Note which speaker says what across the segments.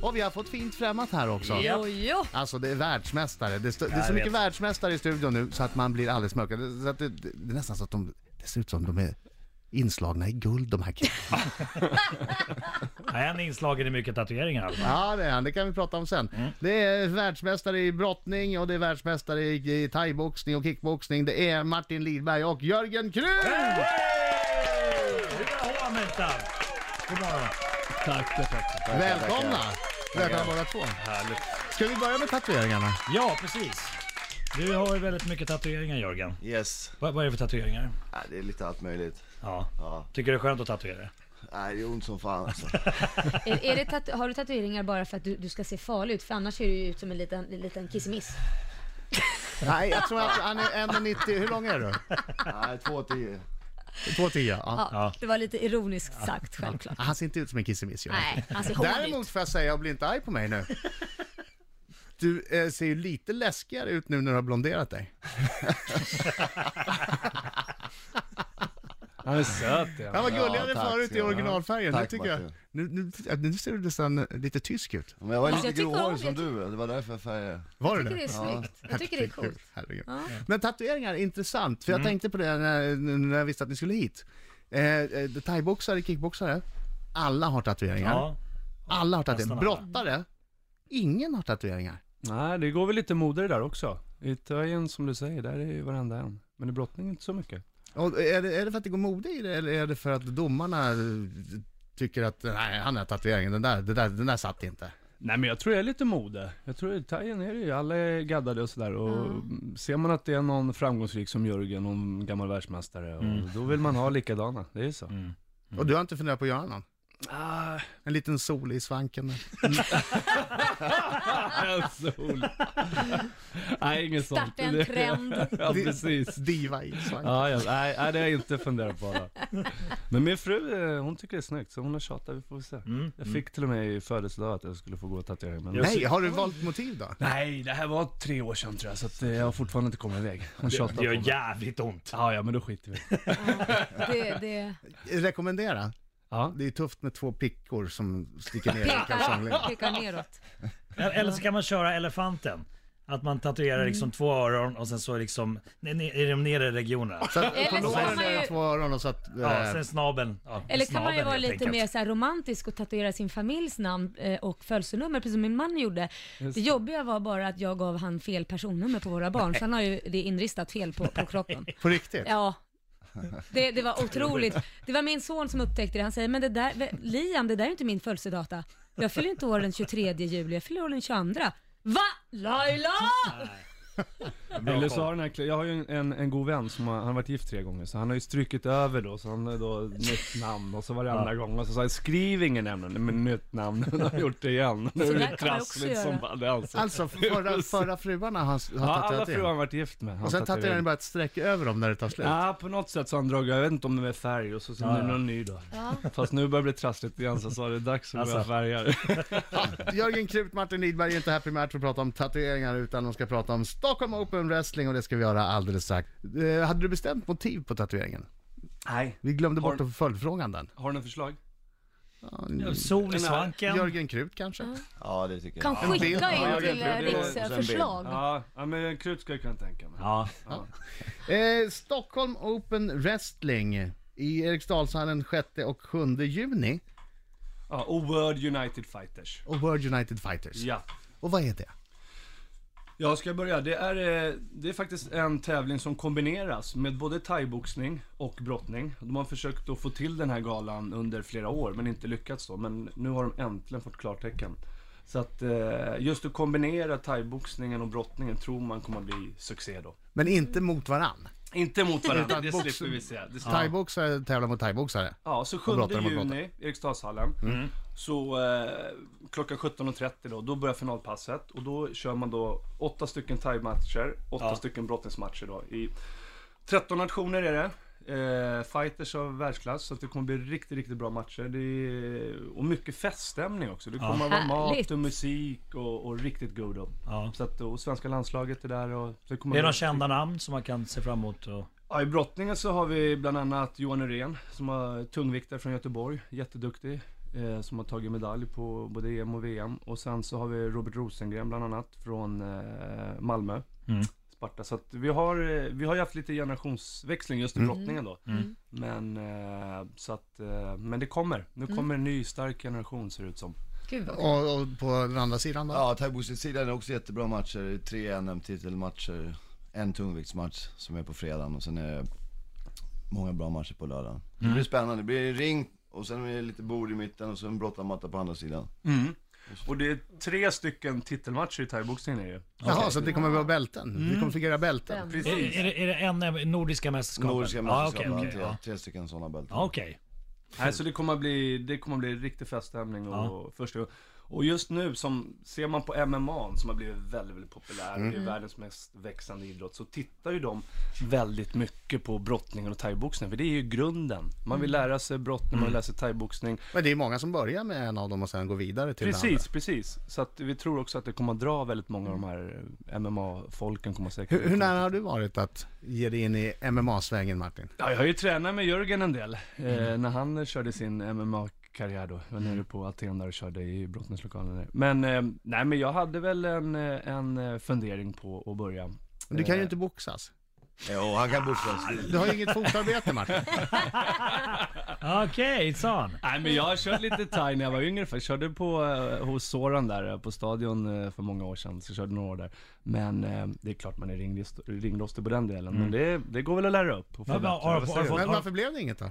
Speaker 1: Och vi har fått fint främmat här också.
Speaker 2: Ja.
Speaker 3: Jo, jo.
Speaker 1: Alltså det är världsmästare. Det, stö- det är så
Speaker 2: jag
Speaker 1: mycket
Speaker 2: vet.
Speaker 1: världsmästare i studion nu så att man blir alldeles mörkare. Det, så att det, det, det är nästan så att de, det ser ut som de är inslagna i guld de här killarna.
Speaker 2: Nej, han är inslagen i mycket tatueringar. Alma.
Speaker 1: Ja det är han, det kan vi prata om sen.
Speaker 2: Mm.
Speaker 1: Det är världsmästare i brottning och det är världsmästare i, i thaiboxning och kickboxning. Det är Martin Lidberg och Jörgen Krun!
Speaker 2: Hurra, Hamenta! God morgon.
Speaker 4: Tack, tack, tack.
Speaker 1: Välkomna! Välkomna båda två.
Speaker 4: Härligt.
Speaker 1: Ska vi börja med tatueringarna?
Speaker 2: Ja, precis. Du har ju väldigt mycket tatueringar, Jörgen.
Speaker 4: Yes.
Speaker 2: Vad, vad är det för tatueringar?
Speaker 4: Ja, det är lite allt möjligt.
Speaker 2: Ja.
Speaker 4: Ja.
Speaker 2: Tycker det är skönt att tatuera?
Speaker 4: Nej, det är ont som fan alltså.
Speaker 3: Är, är det tatu- har du tatueringar bara för att du, du ska se farlig ut? För annars ser du ju ut som en liten, en liten kissemiss.
Speaker 1: Nej, jag tror att han är 1,90. Hur lång är du?
Speaker 4: Nej, 2,10.
Speaker 1: 2,10? Ja.
Speaker 3: Ja, Det var lite ironiskt sagt, självklart.
Speaker 1: Han ser inte ut som en kissemiss Jörgen.
Speaker 3: Nej, alltså, han ser hård ut.
Speaker 1: Däremot får jag säga, och bli inte arg på mig nu. Du eh, ser ju lite läskigare ut nu när du har blonderat dig.
Speaker 5: Han är söt ja.
Speaker 1: Han var gulligare
Speaker 4: Ja, tack
Speaker 1: förut
Speaker 4: ska
Speaker 1: i
Speaker 4: du ha.
Speaker 1: originalfärgen. Nu,
Speaker 4: Tack,
Speaker 1: tycker jag,
Speaker 4: Martin.
Speaker 1: nu, nu, nu ser du nästan eh, lite tysk ut.
Speaker 4: Men jag var
Speaker 3: jag
Speaker 4: lite
Speaker 3: tycker om
Speaker 4: gråhårig
Speaker 3: det.
Speaker 4: som du, det var därför jag färgade.
Speaker 1: Var du
Speaker 3: Jag tycker det är
Speaker 4: Ja.
Speaker 3: snyggt. Jag tycker det är coolt.
Speaker 1: Herregud.
Speaker 3: Ja.
Speaker 1: Men tatueringar är intressant, för jag tänkte på det när, när jag visste att ni skulle hit. Eh, eh, thaiboxare, kickboxare, alla har tatueringar.
Speaker 2: Ja.
Speaker 1: Alla har tatueringar.
Speaker 2: Nästan alla.
Speaker 1: Brottare, ingen har tatueringar.
Speaker 5: Nej, det går väl lite moder där också. I töjen som du säger, där är ju varenda en. Men i brottning inte så mycket.
Speaker 1: Och är, det, är det för att det går mode i det eller är det för att domarna eh, tycker att nej, han har tatueringen, den där, den där, den där satt inte?
Speaker 5: Nej men jag tror det är lite mode. Jag tror i Thaien är det ju, alla är gaddade och sådär och ser man att det är någon framgångsrik som Jörgen, någon gammal världsmästare, och
Speaker 3: Mm.
Speaker 5: då vill man ha likadana. Det är så.
Speaker 2: Mm.
Speaker 1: Och du har inte funderat på att göra någon?
Speaker 5: Ah,
Speaker 1: En liten sol i svanken?
Speaker 5: en sol. Nej, inget sånt.
Speaker 3: Starta en trend.
Speaker 5: ja, precis.
Speaker 1: Diva i svanken?
Speaker 5: Ja, ja, nej, nej, det har jag inte funderat på. Då. Men min fru, eh, hon tycker det är snyggt, så hon har tjatat, vi får väl se.
Speaker 2: Mm.
Speaker 5: Jag fick till och med i födelsedag att jag skulle få gå och tatuera mig. men-
Speaker 1: Nej, har du valt motiv då?
Speaker 5: Nej, det här var tre år sedan tror jag, så att, eh, jag har fortfarande inte kommit iväg. Hon tjatar
Speaker 2: Det
Speaker 5: på mig.
Speaker 2: gör jävligt ont.
Speaker 5: Ja, ja, men då skiter vi
Speaker 3: Det, det
Speaker 1: Rekommendera?
Speaker 5: Ja,
Speaker 1: Det är tufft med två pickor som sticker ner i kalsongerna.
Speaker 3: pekar, pekar neråt.
Speaker 2: Eller så kan man köra elefanten. Att man tatuerar liksom två öron och sen så liksom, nej, nej, är de nere i regionerna.
Speaker 1: Så att
Speaker 3: Eller
Speaker 1: på
Speaker 3: så kan
Speaker 1: låren
Speaker 3: man
Speaker 1: är det
Speaker 3: ju-
Speaker 1: två öron och så att...
Speaker 2: Ja,
Speaker 1: eh,
Speaker 2: sen snabeln. Ja,
Speaker 3: Eller kan man ju
Speaker 2: snabeln
Speaker 3: vara
Speaker 2: helt
Speaker 3: lite
Speaker 2: enkelt.
Speaker 3: mer så här romantisk och tatuera sin familjs namn eh, och födelsenummer, precis som min man gjorde. Det jobbiga var bara att jag gav han fel personnummer på våra barn, så han har ju det inristat fel på, på kroppen.
Speaker 1: på riktigt?
Speaker 3: Ja. Det, det var otroligt. Det var min son som upptäckte det. Han säger, men det där, ve- Liam, det där är inte min födelsedata. Jag fyller inte år den 23 juli, jag fyller år den 22. Va? Laila?
Speaker 5: eller så har den här, kli- jag har ju en, en, en god vän som har, han har varit gift tre gånger, så han har ju strykit över då, så han har då nytt namn och så var det andra gång och så sa han skriv ingen nämligen, men nytt namn, han har gjort det igen. Nu är
Speaker 3: där
Speaker 5: det
Speaker 3: kan man också
Speaker 5: trassligt
Speaker 3: göra.
Speaker 5: som bara det alltså.
Speaker 1: Alltså, förra, förra fruarna har, har
Speaker 5: Ja, alla
Speaker 1: tatuerat
Speaker 5: fruar har
Speaker 1: in.
Speaker 5: varit gift med. Han
Speaker 1: Och sen tatuerar ni bara ett streck över dem när det tar slut.
Speaker 5: Ja, på något sätt så har han dragit, jag vet inte om det är färg och så, så
Speaker 2: Ja,
Speaker 5: nu är det
Speaker 2: ja.
Speaker 5: någon ny då.
Speaker 3: Ja.
Speaker 5: Fast nu börjar det bli trassligt igen så sa det är dags att börja
Speaker 2: Alltså.
Speaker 5: färga.
Speaker 1: Jörgen Krut, Martin Lidberg är inte här primärt för att prata om tatueringar utan de ska prata om Stockholm Open Wrestling och det ska vi göra alldeles strax. Eh, hade du bestämt motiv på tatueringen?
Speaker 5: Nej.
Speaker 1: Vi glömde
Speaker 5: Har-
Speaker 1: bort att följdfrågan den.
Speaker 5: Har du något förslag?
Speaker 2: Sol i
Speaker 5: Den här-
Speaker 2: svanken.
Speaker 1: Jörgen Krut kanske?
Speaker 4: Ja, det tycker
Speaker 3: Kan
Speaker 4: jag.
Speaker 3: skicka
Speaker 1: bild. Ja,
Speaker 3: in
Speaker 1: jag
Speaker 3: till
Speaker 5: vet, det är-
Speaker 3: Riks
Speaker 4: det är en bild.
Speaker 3: förslag.
Speaker 5: Ja, ja, men krut ska jag kunna tänka mig.
Speaker 2: Ja,
Speaker 1: Eh, Stockholm Open Wrestling i Eriksdalshallen 6 och 7 juni
Speaker 5: Ja, och World United Fighters.
Speaker 1: och World United Fighters.
Speaker 5: Ja.
Speaker 1: Och vad är det?
Speaker 5: Jag ska börja. Det är, eh, det är faktiskt en tävling som kombineras med både thaiboxning och brottning. De har försökt att få till den här galan under flera år men inte lyckats då. Men nu har de äntligen fått klartecken. Så att eh, just att kombinera thaiboxningen och brottningen tror man kommer att bli succé då.
Speaker 1: Men inte mot varann.
Speaker 5: Inte mot varandra,
Speaker 1: Utan
Speaker 5: det
Speaker 1: box-
Speaker 5: slipper vi se. Det slipper
Speaker 1: Thaiboxare tävlar mot thaiboxare.
Speaker 5: Ja, så
Speaker 1: Och
Speaker 5: 7
Speaker 1: brottare mot
Speaker 5: juni, Eriksdalshallen.
Speaker 2: Mm.
Speaker 5: Så eh, klockan 17.30 då, då börjar finalpasset. Och då kör man då åtta stycken thai-matcher, åtta
Speaker 2: Ja.
Speaker 5: stycken brottningsmatcher då. I 13 nationer är det. Eh, fighters av världsklass, så att det kommer bli riktigt, riktigt bra matcher. Det är, och mycket feststämning också. Det kommer att vara
Speaker 3: Härligt.
Speaker 5: mat och musik och, och riktigt god då.
Speaker 2: Ja.
Speaker 5: Så att, och svenska landslaget är där och... Så det kommer
Speaker 2: Det är
Speaker 5: bli-
Speaker 2: de kända namn som man kan se fram emot. Och...
Speaker 5: Ja, I brottningen så har vi bland annat Johan Norén som har tungviktare från Göteborg, jätteduktig. eh, som har tagit medalj på både EM och VM. Och sen så har vi Robert Rosengren bland annat från eh, Malmö.
Speaker 2: Mm.
Speaker 5: Sparta. Så att vi har, eh, vi har ju haft lite generationsväxling just i
Speaker 1: Mm.
Speaker 5: brottningen då.
Speaker 2: Mm.
Speaker 5: Men, eh, så att, eh, men det kommer. Nu
Speaker 3: Mm.
Speaker 5: kommer en ny stark generation ser det ut som.
Speaker 3: Gud vad kul.
Speaker 1: Och, och på den andra sidan då?
Speaker 4: Ja, thaiboxningssidan är också jättebra matcher. Tre NM-titelmatcher, en tungviktsmatch som är på fredagen och sen är det många bra matcher på lördagen.
Speaker 2: Mm.
Speaker 4: Det blir spännande. Det blir ring och sen är det lite bord i mitten och sen brottarmatta på andra sidan.
Speaker 5: Och det är tre stycken titelmatcher i thaiboxningen är det ju.
Speaker 1: Jaha, så att det kommer att vara bälten?
Speaker 5: Mm.
Speaker 1: Det kommer fungera bälten?
Speaker 3: Spännande.
Speaker 5: Precis.
Speaker 2: Är, är, det, är det en nordiska mästerskapen?
Speaker 4: Nordiska
Speaker 2: Ja,
Speaker 4: mästerskapen,
Speaker 2: Ah, okej,
Speaker 4: tre,
Speaker 2: okej, ja.
Speaker 4: tre stycken sådana bälten.
Speaker 2: Ja, okej.
Speaker 5: Nej, så det kommer att bli, det kommer att bli riktig feststämning och första Och just nu som, ser man på MMA som har blivit väldigt, väldigt populär
Speaker 1: Mm.
Speaker 5: och det är världens mest växande idrott så tittar ju de väldigt mycket på brottningen och thaiboxning för det är ju grunden. Man vill lära sig brottning, man
Speaker 1: Mm.
Speaker 5: vill lära sig thaiboxning.
Speaker 1: Men det är många som börjar med en av dem och sen går vidare till den andra.
Speaker 5: Precis, precis. Så att vi tror också att det kommer att dra väldigt många av de här MMA-folken kommer säkert...
Speaker 1: Hur, hur nära har du varit att ge dig in i MMA-svängen Martin?
Speaker 5: Ja, jag har ju tränat med Jörgen en del. Eh,
Speaker 2: Mm.
Speaker 5: när han körde sin MMA-karriär då. Jag var nere på Aten där och körde i brottningslokalen där. Men, eh, nej men jag hade väl en, eh, en eh, fundering på att börja.
Speaker 1: Du kan ju inte boxas.
Speaker 4: Jo, han kan
Speaker 2: Ah,
Speaker 4: boxas.
Speaker 1: Du har ju inget fotarbete Martin.
Speaker 2: Okej, sån.
Speaker 5: Nej men jag har kört lite thai när jag var yngre för jag körde på, eh, hos Soran där eh, på stadion eh, för många år sedan. Så jag körde några år där. Men eh, det är klart man är ringrist- ringrostig på den delen. Men det, det går väl att lära upp och
Speaker 2: Mm. Men vad- har-
Speaker 5: förbättra. Vad säger
Speaker 2: har-
Speaker 5: du?
Speaker 2: har-
Speaker 1: Men varför blev det inget då?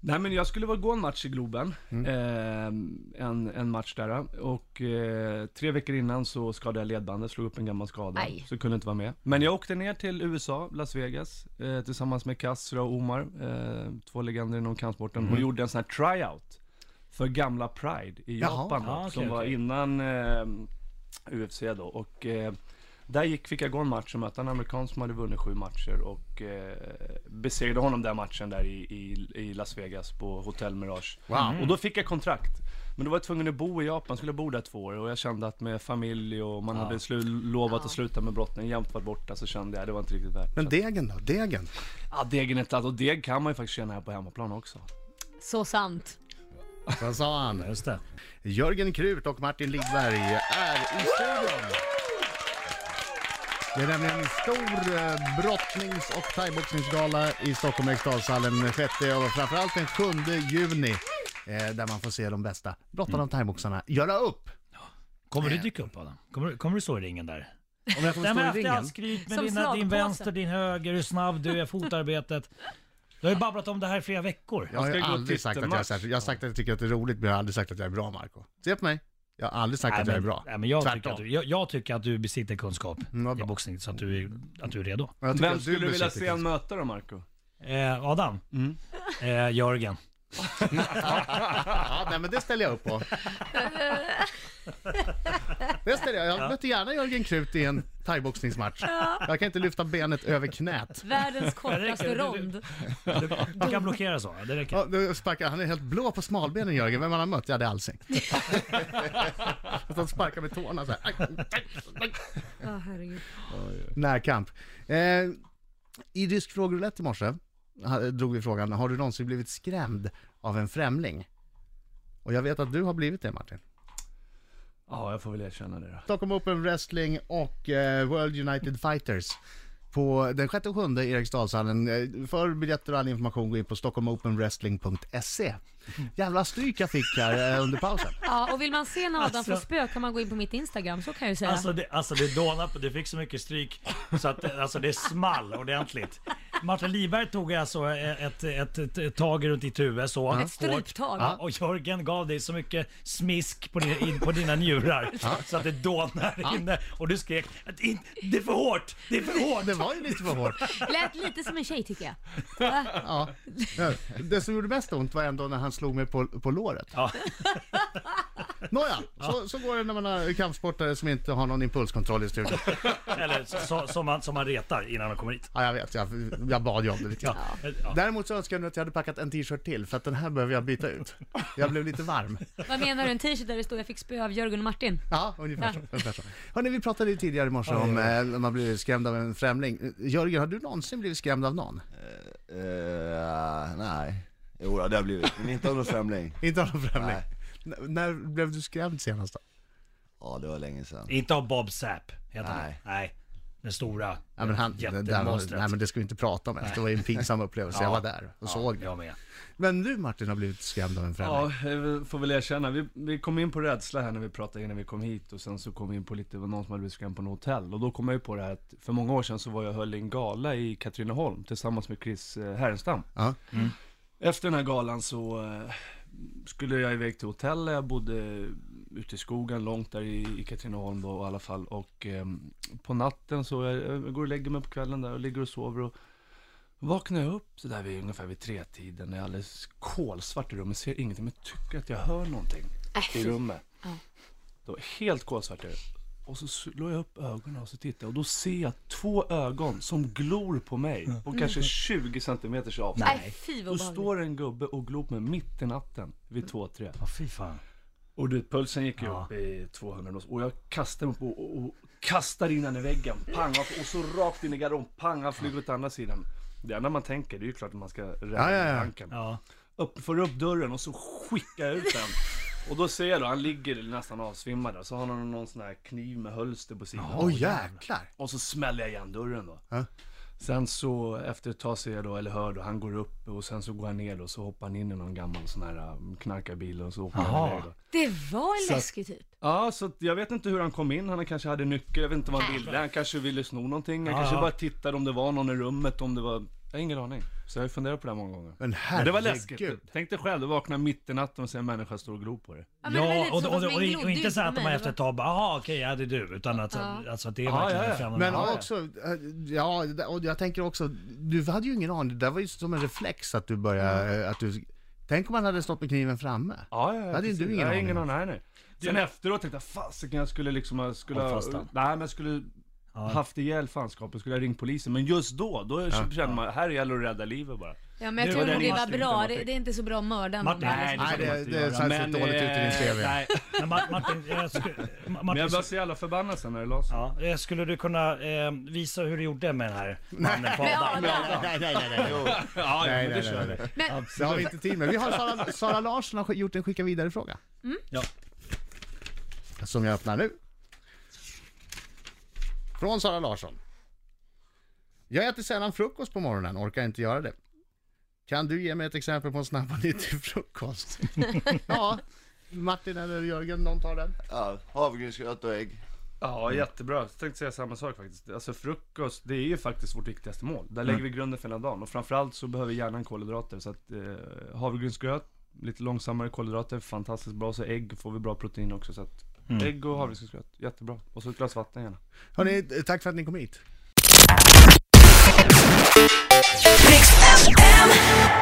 Speaker 5: Nej men jag skulle vara gå en match i Globen.
Speaker 2: Mm.
Speaker 5: Eh, en, en match där. Och eh, tre veckor innan så skadade jag ledbandet, slog upp en gammal skada.
Speaker 3: Aj.
Speaker 5: Så kunde inte vara med. Men jag åkte ner till USA, Las Vegas, eh, tillsammans med Kassra och Omar. Eh, två legender inom kampsporten.
Speaker 2: Mm.
Speaker 5: Och gjorde en sån här tryout. För gamla Pride i
Speaker 1: Jaha.
Speaker 5: Japan. då,
Speaker 2: Ah, okej,
Speaker 5: som var
Speaker 2: okej.
Speaker 5: innan eh, UFC då. Och, eh, där gick, fick jag gå en match och möta en amerikan som hade vunnit sju matcher och eh, besegrade honom den matchen där i, i, i Las Vegas på Hotel Mirage.
Speaker 1: Wow.
Speaker 5: Och då fick jag kontrakt. Men då var jag tvungen att bo i Japan, skulle jag bo där två år och jag kände att med familj och man hade slu- lovat att sluta med brottning, jämt varit borta så kände jag det var inte riktigt värt.
Speaker 1: Men
Speaker 5: Men det...
Speaker 1: degen då? Degen?
Speaker 5: Ja, degen är inte allt och deg kan man ju faktiskt tjäna här på hemmaplan också.
Speaker 3: Så sant.
Speaker 1: Vad sa han?
Speaker 2: Just det.
Speaker 1: Jörgen Krut och Martin Lidberg är i studion. Det är nämligen en stor eh, brottnings och thaiboxningsgala i Stockholm Eriksdalshallen den 6 och framförallt den 7 juni eh, där man får se de bästa brottarna och thaiboxarna göra upp.
Speaker 2: Kommer du dyka upp Adam? Kommer, du- kommer du stå i ringen där?
Speaker 1: Om jag får
Speaker 2: Nej,
Speaker 1: stå
Speaker 2: men
Speaker 1: i
Speaker 2: alltid
Speaker 1: ringen.
Speaker 2: allt skryt med
Speaker 3: Som
Speaker 2: dina, din
Speaker 3: slagpåse.
Speaker 2: vänster, din höger, hur snabb du är, fotarbetet. Du har ju babblat om det här i flera veckor.
Speaker 1: Jag har
Speaker 5: Ska
Speaker 1: ju
Speaker 5: jag gå
Speaker 1: aldrig sagt att jag är
Speaker 5: titelmatch?
Speaker 1: särskilt, jag har sagt att jag tycker att det är roligt men jag har aldrig sagt att jag är bra Marco. Se på mig. Jag har aldrig sagt att jag är
Speaker 2: men-
Speaker 1: bra.
Speaker 2: Nej, men jag, tycker
Speaker 1: Tvärtom.
Speaker 2: att du, jag, jag tycker att du besitter kunskap
Speaker 1: Mm, vad
Speaker 2: i
Speaker 1: bra.
Speaker 2: boxning så att du, är- att du är redo.
Speaker 1: Och jag tycker
Speaker 5: Vem
Speaker 1: att
Speaker 5: skulle du vilja
Speaker 1: besitter
Speaker 5: se en möta då Marco?
Speaker 1: Mm.
Speaker 2: Eh, Adam? Eh, Jörgen?
Speaker 1: Ja, nej, men det ställer jag upp på. Det ställer jag. Jag möter gärna Jörgen Krut i en thaiboxningsmatch. Jag kan inte lyfta benet över knät.
Speaker 3: Världens
Speaker 2: Det
Speaker 3: kortaste
Speaker 2: räcker.
Speaker 3: rond.
Speaker 2: Du, du kan blockera så, det räcker.
Speaker 1: Ja, då sparkar, han är helt blå på smalbenen Jörgen. Vem han har mött? Ja, det är Alsing. Att han sparkar med tårna så här. Aj, aj, aj.
Speaker 3: Ja, herregud.
Speaker 1: Närkamp. Eh, I Rysk frågeroulette i morse ha- drog vi frågan, har du någonsin blivit skrämd av en främling? Och jag vet att du har blivit det Martin.
Speaker 5: Ja, jag får väl erkänna det då.
Speaker 1: Stockholm Open Wrestling och eh, World United Fighters. På den 6 och 7 i Eriksdalshallen. Eh, För biljetter och all information gå in på stockholmopenwrestling.se. Jävla stryk jag fick här eh, under pausen.
Speaker 3: Ja, och vill man se när Adam
Speaker 2: Alltså.
Speaker 3: får spö kan man gå in på mitt Instagram, så kan jag ju säga.
Speaker 2: Alltså det, alltså det dånar på, du fick så mycket stryk så att eh, alltså det small ordentligt. Martin Liberg tog alltså eh, ett, ett, ett, ett tag runt ditt huvud så.
Speaker 3: Ett stryptag.
Speaker 2: Ja, Och Jörgen gav dig så mycket smisk på, din, in, på dina njurar så att det dånar inne. Och du skrek att in, det är för hårt, det är för hårt.
Speaker 1: Det var ju lite för hårt.
Speaker 3: Lät lite som en tjej tycker jag.
Speaker 1: Ja. Det som gjorde mest ont var ändå när han slog mig på, på låret.
Speaker 2: Ja.
Speaker 1: Nåja, så, så går det när man har kampsportare som inte har någon impulskontroll i studion.
Speaker 2: Eller så- så, som, man, som man retar innan han kommer hit.
Speaker 1: Ja, jag vet, jag, jag bad ju om det lite grann.
Speaker 2: Ja. Ja.
Speaker 1: Däremot så önskar jag nu att jag hade packat en t-shirt till för att den här behöver jag byta ut. Jag blev lite varm.
Speaker 3: Vad menar du? En t-shirt där det står jag fick spö av Jörgen och Martin?
Speaker 1: Ja, ungefär så. Ungefär så. Hörni, vi pratade ju tidigare i morse om eh, när man blir skrämd av en främling. Eh, Jörgen, har du någonsin blivit skrämd av någon?
Speaker 4: Eh, nej. eh, Jo, det har blivit. Men inte av någon främling.
Speaker 1: Inte av någon främling?
Speaker 4: Nej.
Speaker 1: N- när blev du skrämd senast då?
Speaker 4: Ja, det var länge sedan.
Speaker 2: Inte av Bob Sapp, heter han.
Speaker 4: Nej.
Speaker 2: Nej. Den stora
Speaker 1: Ja, men han, det, där var,
Speaker 2: jättemonstret.
Speaker 1: nej, men det ska vi inte prata om ens. Det var ju en pinsam upplevelse. Jag
Speaker 2: Ja.
Speaker 1: var där och såg det.
Speaker 2: jag med.
Speaker 1: Men du Martin har blivit skrämd av en
Speaker 5: Ja,
Speaker 1: främling.
Speaker 5: jag får väl erkänna. Vi, vi kom in på rädsla här när vi pratade innan vi kom hit och sen så kom vi in på lite, det var någon som hade blivit skrämd på något hotell. Och då kom jag ju på det här att för många år sedan så var jag och höll i en gala i Katrineholm tillsammans med Chris eh, Härenstam.
Speaker 1: Ja.
Speaker 5: Efter den här galan så eh, skulle jag iväg till hotellet, jag bodde ute i skogen långt där i, i Katrineholm då i alla fall. Och ehm, på natten så, jag, jag går och lägger mig på kvällen där och ligger och sover och vaknar jag upp sådär vid ungefär vid tretiden, det är alldeles kolsvart i rummet, ser ingenting men tycker att jag hör någonting
Speaker 3: Äh,
Speaker 5: i
Speaker 3: fy.
Speaker 5: rummet.
Speaker 3: Ja.
Speaker 5: Det var helt kolsvart där. Och så slår jag upp ögonen och så tittar jag och då ser jag två ögon som glor på mig och kanske 20 centimeters avstånd.
Speaker 3: Nej, Äh, fy vad
Speaker 5: Då
Speaker 3: obehagligt.
Speaker 5: står en gubbe och glor på mig mitt i natten vid två, tre.
Speaker 2: Åh fy fan.
Speaker 5: Och du, pulsen gick ju
Speaker 2: Ja.
Speaker 5: upp i 200 nås. och jag kastar mig upp och, och, och kastar in den i väggen. Pang! Och, och så rakt in i garderoben. Pang! Han flyger åt andra sidan. Det enda man tänker, det är ju klart att man ska rädda
Speaker 1: Ja, ja, ja.
Speaker 5: banken.
Speaker 2: Ja.
Speaker 5: Upp, får upp dörren och så skickar jag ut den. Och då ser jag då, han ligger nästan avsvimmad där. Så har han någon sån här kniv med hölster på sidan.
Speaker 1: Åh jäklar!
Speaker 5: Och så smäller jag igen dörren då.
Speaker 1: Ja.
Speaker 5: Sen så efter ett tag ser jag då, eller hör då, han går upp och sen så går han ner och så hoppar han in i någon gammal sån här um, knarkarbil och så åker
Speaker 2: Jaha.
Speaker 5: han iväg då.
Speaker 3: Det var en läskig typ.
Speaker 5: Ja, så att jag vet inte hur han kom in. Han kanske hade nyckel, jag vet inte vad han ville. Han kanske ville sno någonting. Han
Speaker 2: Ja,
Speaker 5: kanske
Speaker 2: ja.
Speaker 5: bara tittade om det var någon i rummet, om det var... Jag har ingen aning. Så jag har ju funderat på det här många gånger.
Speaker 1: Men
Speaker 5: Men
Speaker 1: herregud.
Speaker 5: det var läskigt. Tänk dig själv, du vaknar mitt i natten och ser en människa stå och glo på dig.
Speaker 3: Ja, men det var
Speaker 2: Ja,
Speaker 3: lite
Speaker 2: och,
Speaker 3: som
Speaker 2: och,
Speaker 3: att man
Speaker 2: och, och,
Speaker 3: glodde
Speaker 2: inte
Speaker 3: ut
Speaker 2: så här
Speaker 3: på
Speaker 2: att man
Speaker 3: mig,
Speaker 2: efter
Speaker 3: va?
Speaker 2: ett tag bara, jaha okej, ja det är du. Utan att,
Speaker 3: Ja.
Speaker 2: alltså, att det är
Speaker 5: Ja,
Speaker 2: verkligen
Speaker 5: ja, ja.
Speaker 2: en främmande
Speaker 1: Men
Speaker 2: människa.
Speaker 1: också, eh, ja, och jag tänker också, du hade ju ingen aning, det där var ju som en reflex att du började, eh, att du, tänk om man hade stått med kniven framme.
Speaker 5: Ja, ja, ja.
Speaker 1: Hade
Speaker 5: precis.
Speaker 1: du ingen
Speaker 5: jag har
Speaker 1: aning
Speaker 5: ingen
Speaker 1: om?
Speaker 5: aning. Nej, nej. Sen efteråt tänkte jag, fasiken jag skulle liksom, jag skulle...
Speaker 2: Håll
Speaker 5: ha-
Speaker 2: fast han.
Speaker 5: Nej, men jag skulle haft ihjäl fanskapet, skulle jag ringt polisen. Men just då, då kände man, här gäller det att rädda livet bara.
Speaker 3: Ja, men jag
Speaker 5: Det
Speaker 3: tror
Speaker 5: var
Speaker 3: nog
Speaker 5: den
Speaker 3: det var
Speaker 5: instinkten
Speaker 3: bra.
Speaker 5: man
Speaker 3: Det,
Speaker 5: fick.
Speaker 3: det är inte så bra att mörda någon.
Speaker 2: Martin,
Speaker 3: Nej,
Speaker 1: Nej,
Speaker 5: kan man
Speaker 1: det,
Speaker 5: inte
Speaker 1: det
Speaker 5: göra.
Speaker 1: ser
Speaker 5: Men,
Speaker 1: dåligt ut i din
Speaker 5: eh,
Speaker 1: CV.
Speaker 5: Nej,
Speaker 2: Men Ma- Martin, jag skulle, Ma-
Speaker 5: men jag
Speaker 2: Martin,
Speaker 5: blev så jävla förbannad sen när det la sig.
Speaker 2: ja, eh, skulle du kunna eh, visa hur du gjorde med den här mannen på
Speaker 3: Men
Speaker 2: Adam?
Speaker 3: Adam,
Speaker 1: Nej, nej, nej, nej.
Speaker 5: Ja, ja,
Speaker 1: Nej,
Speaker 5: men
Speaker 1: nej,
Speaker 5: det
Speaker 1: nej,
Speaker 5: kör vi.
Speaker 1: nej.
Speaker 3: men
Speaker 1: Det har vi inte tid med. Vi har Sara, Sara Larsson har sk- gjort en skicka vidare-fråga.
Speaker 2: Ja.
Speaker 1: Som jag öppnar nu. Från Sara Larsson. Jag äter sällan frukost på morgonen, orkar inte göra det. Kan du ge mig ett exempel på en snabb och nyttig frukost? ja, Martin eller Jörgen, någon tar den.
Speaker 4: Ja, havregrynsgröt och ägg.
Speaker 5: Ja, jättebra. Jag tänkte säga samma sak faktiskt. Alltså frukost, det är ju faktiskt vårt viktigaste mål. Där lägger vi grunden för hela dagen. Och framförallt så behöver hjärnan kolhydrater. Så att eh, havregrynsgröt, lite långsammare kolhydrater, fantastiskt bra. Så ägg får vi bra protein också. Så att ägg och havregrynsgröt, jättebra. Och så ett glas vatten gärna.
Speaker 1: Hörni, tack för att ni kom hit.
Speaker 6: Riks FM.